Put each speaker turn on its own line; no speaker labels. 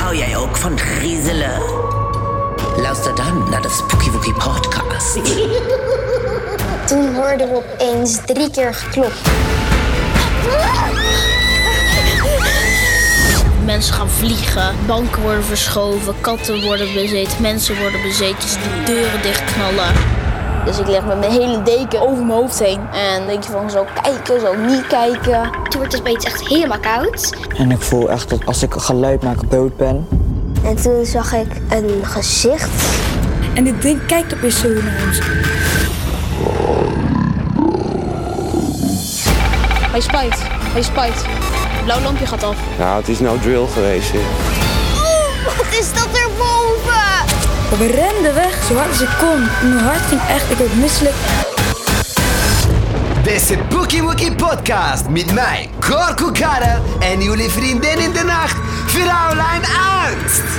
Hou jij ook van griezelen? Luister dan naar de Spooky Wookie Podcast.
Toen hoorden we opeens drie keer geklopt.
Mensen gaan vliegen, banken worden verschoven, katten worden bezeten, mensen worden bezeten, dus de deuren dichtknallen. Dus ik leg met mijn hele deken over mijn hoofd heen. En denk je van, zo kijken, zo niet kijken.
Toen wordt het opeens echt helemaal koud.
En ik voel echt dat als ik geluid maak dood ben.
En toen zag ik een gezicht.
En dit ding kijkt opeens zo naar ons.
Hij spijt, hij spijt. Blauw lampje gaat af.
Nou, het is nou drill geweest. hè.
Wat is dat erboven?
We renden weg zo hard als ik kon. Mijn hart ging echt, ik werd misselijk.
De Spooky Wookie Podcast met mij, Gorko Karel en jullie vriendin in de nacht, Fraulein Angst.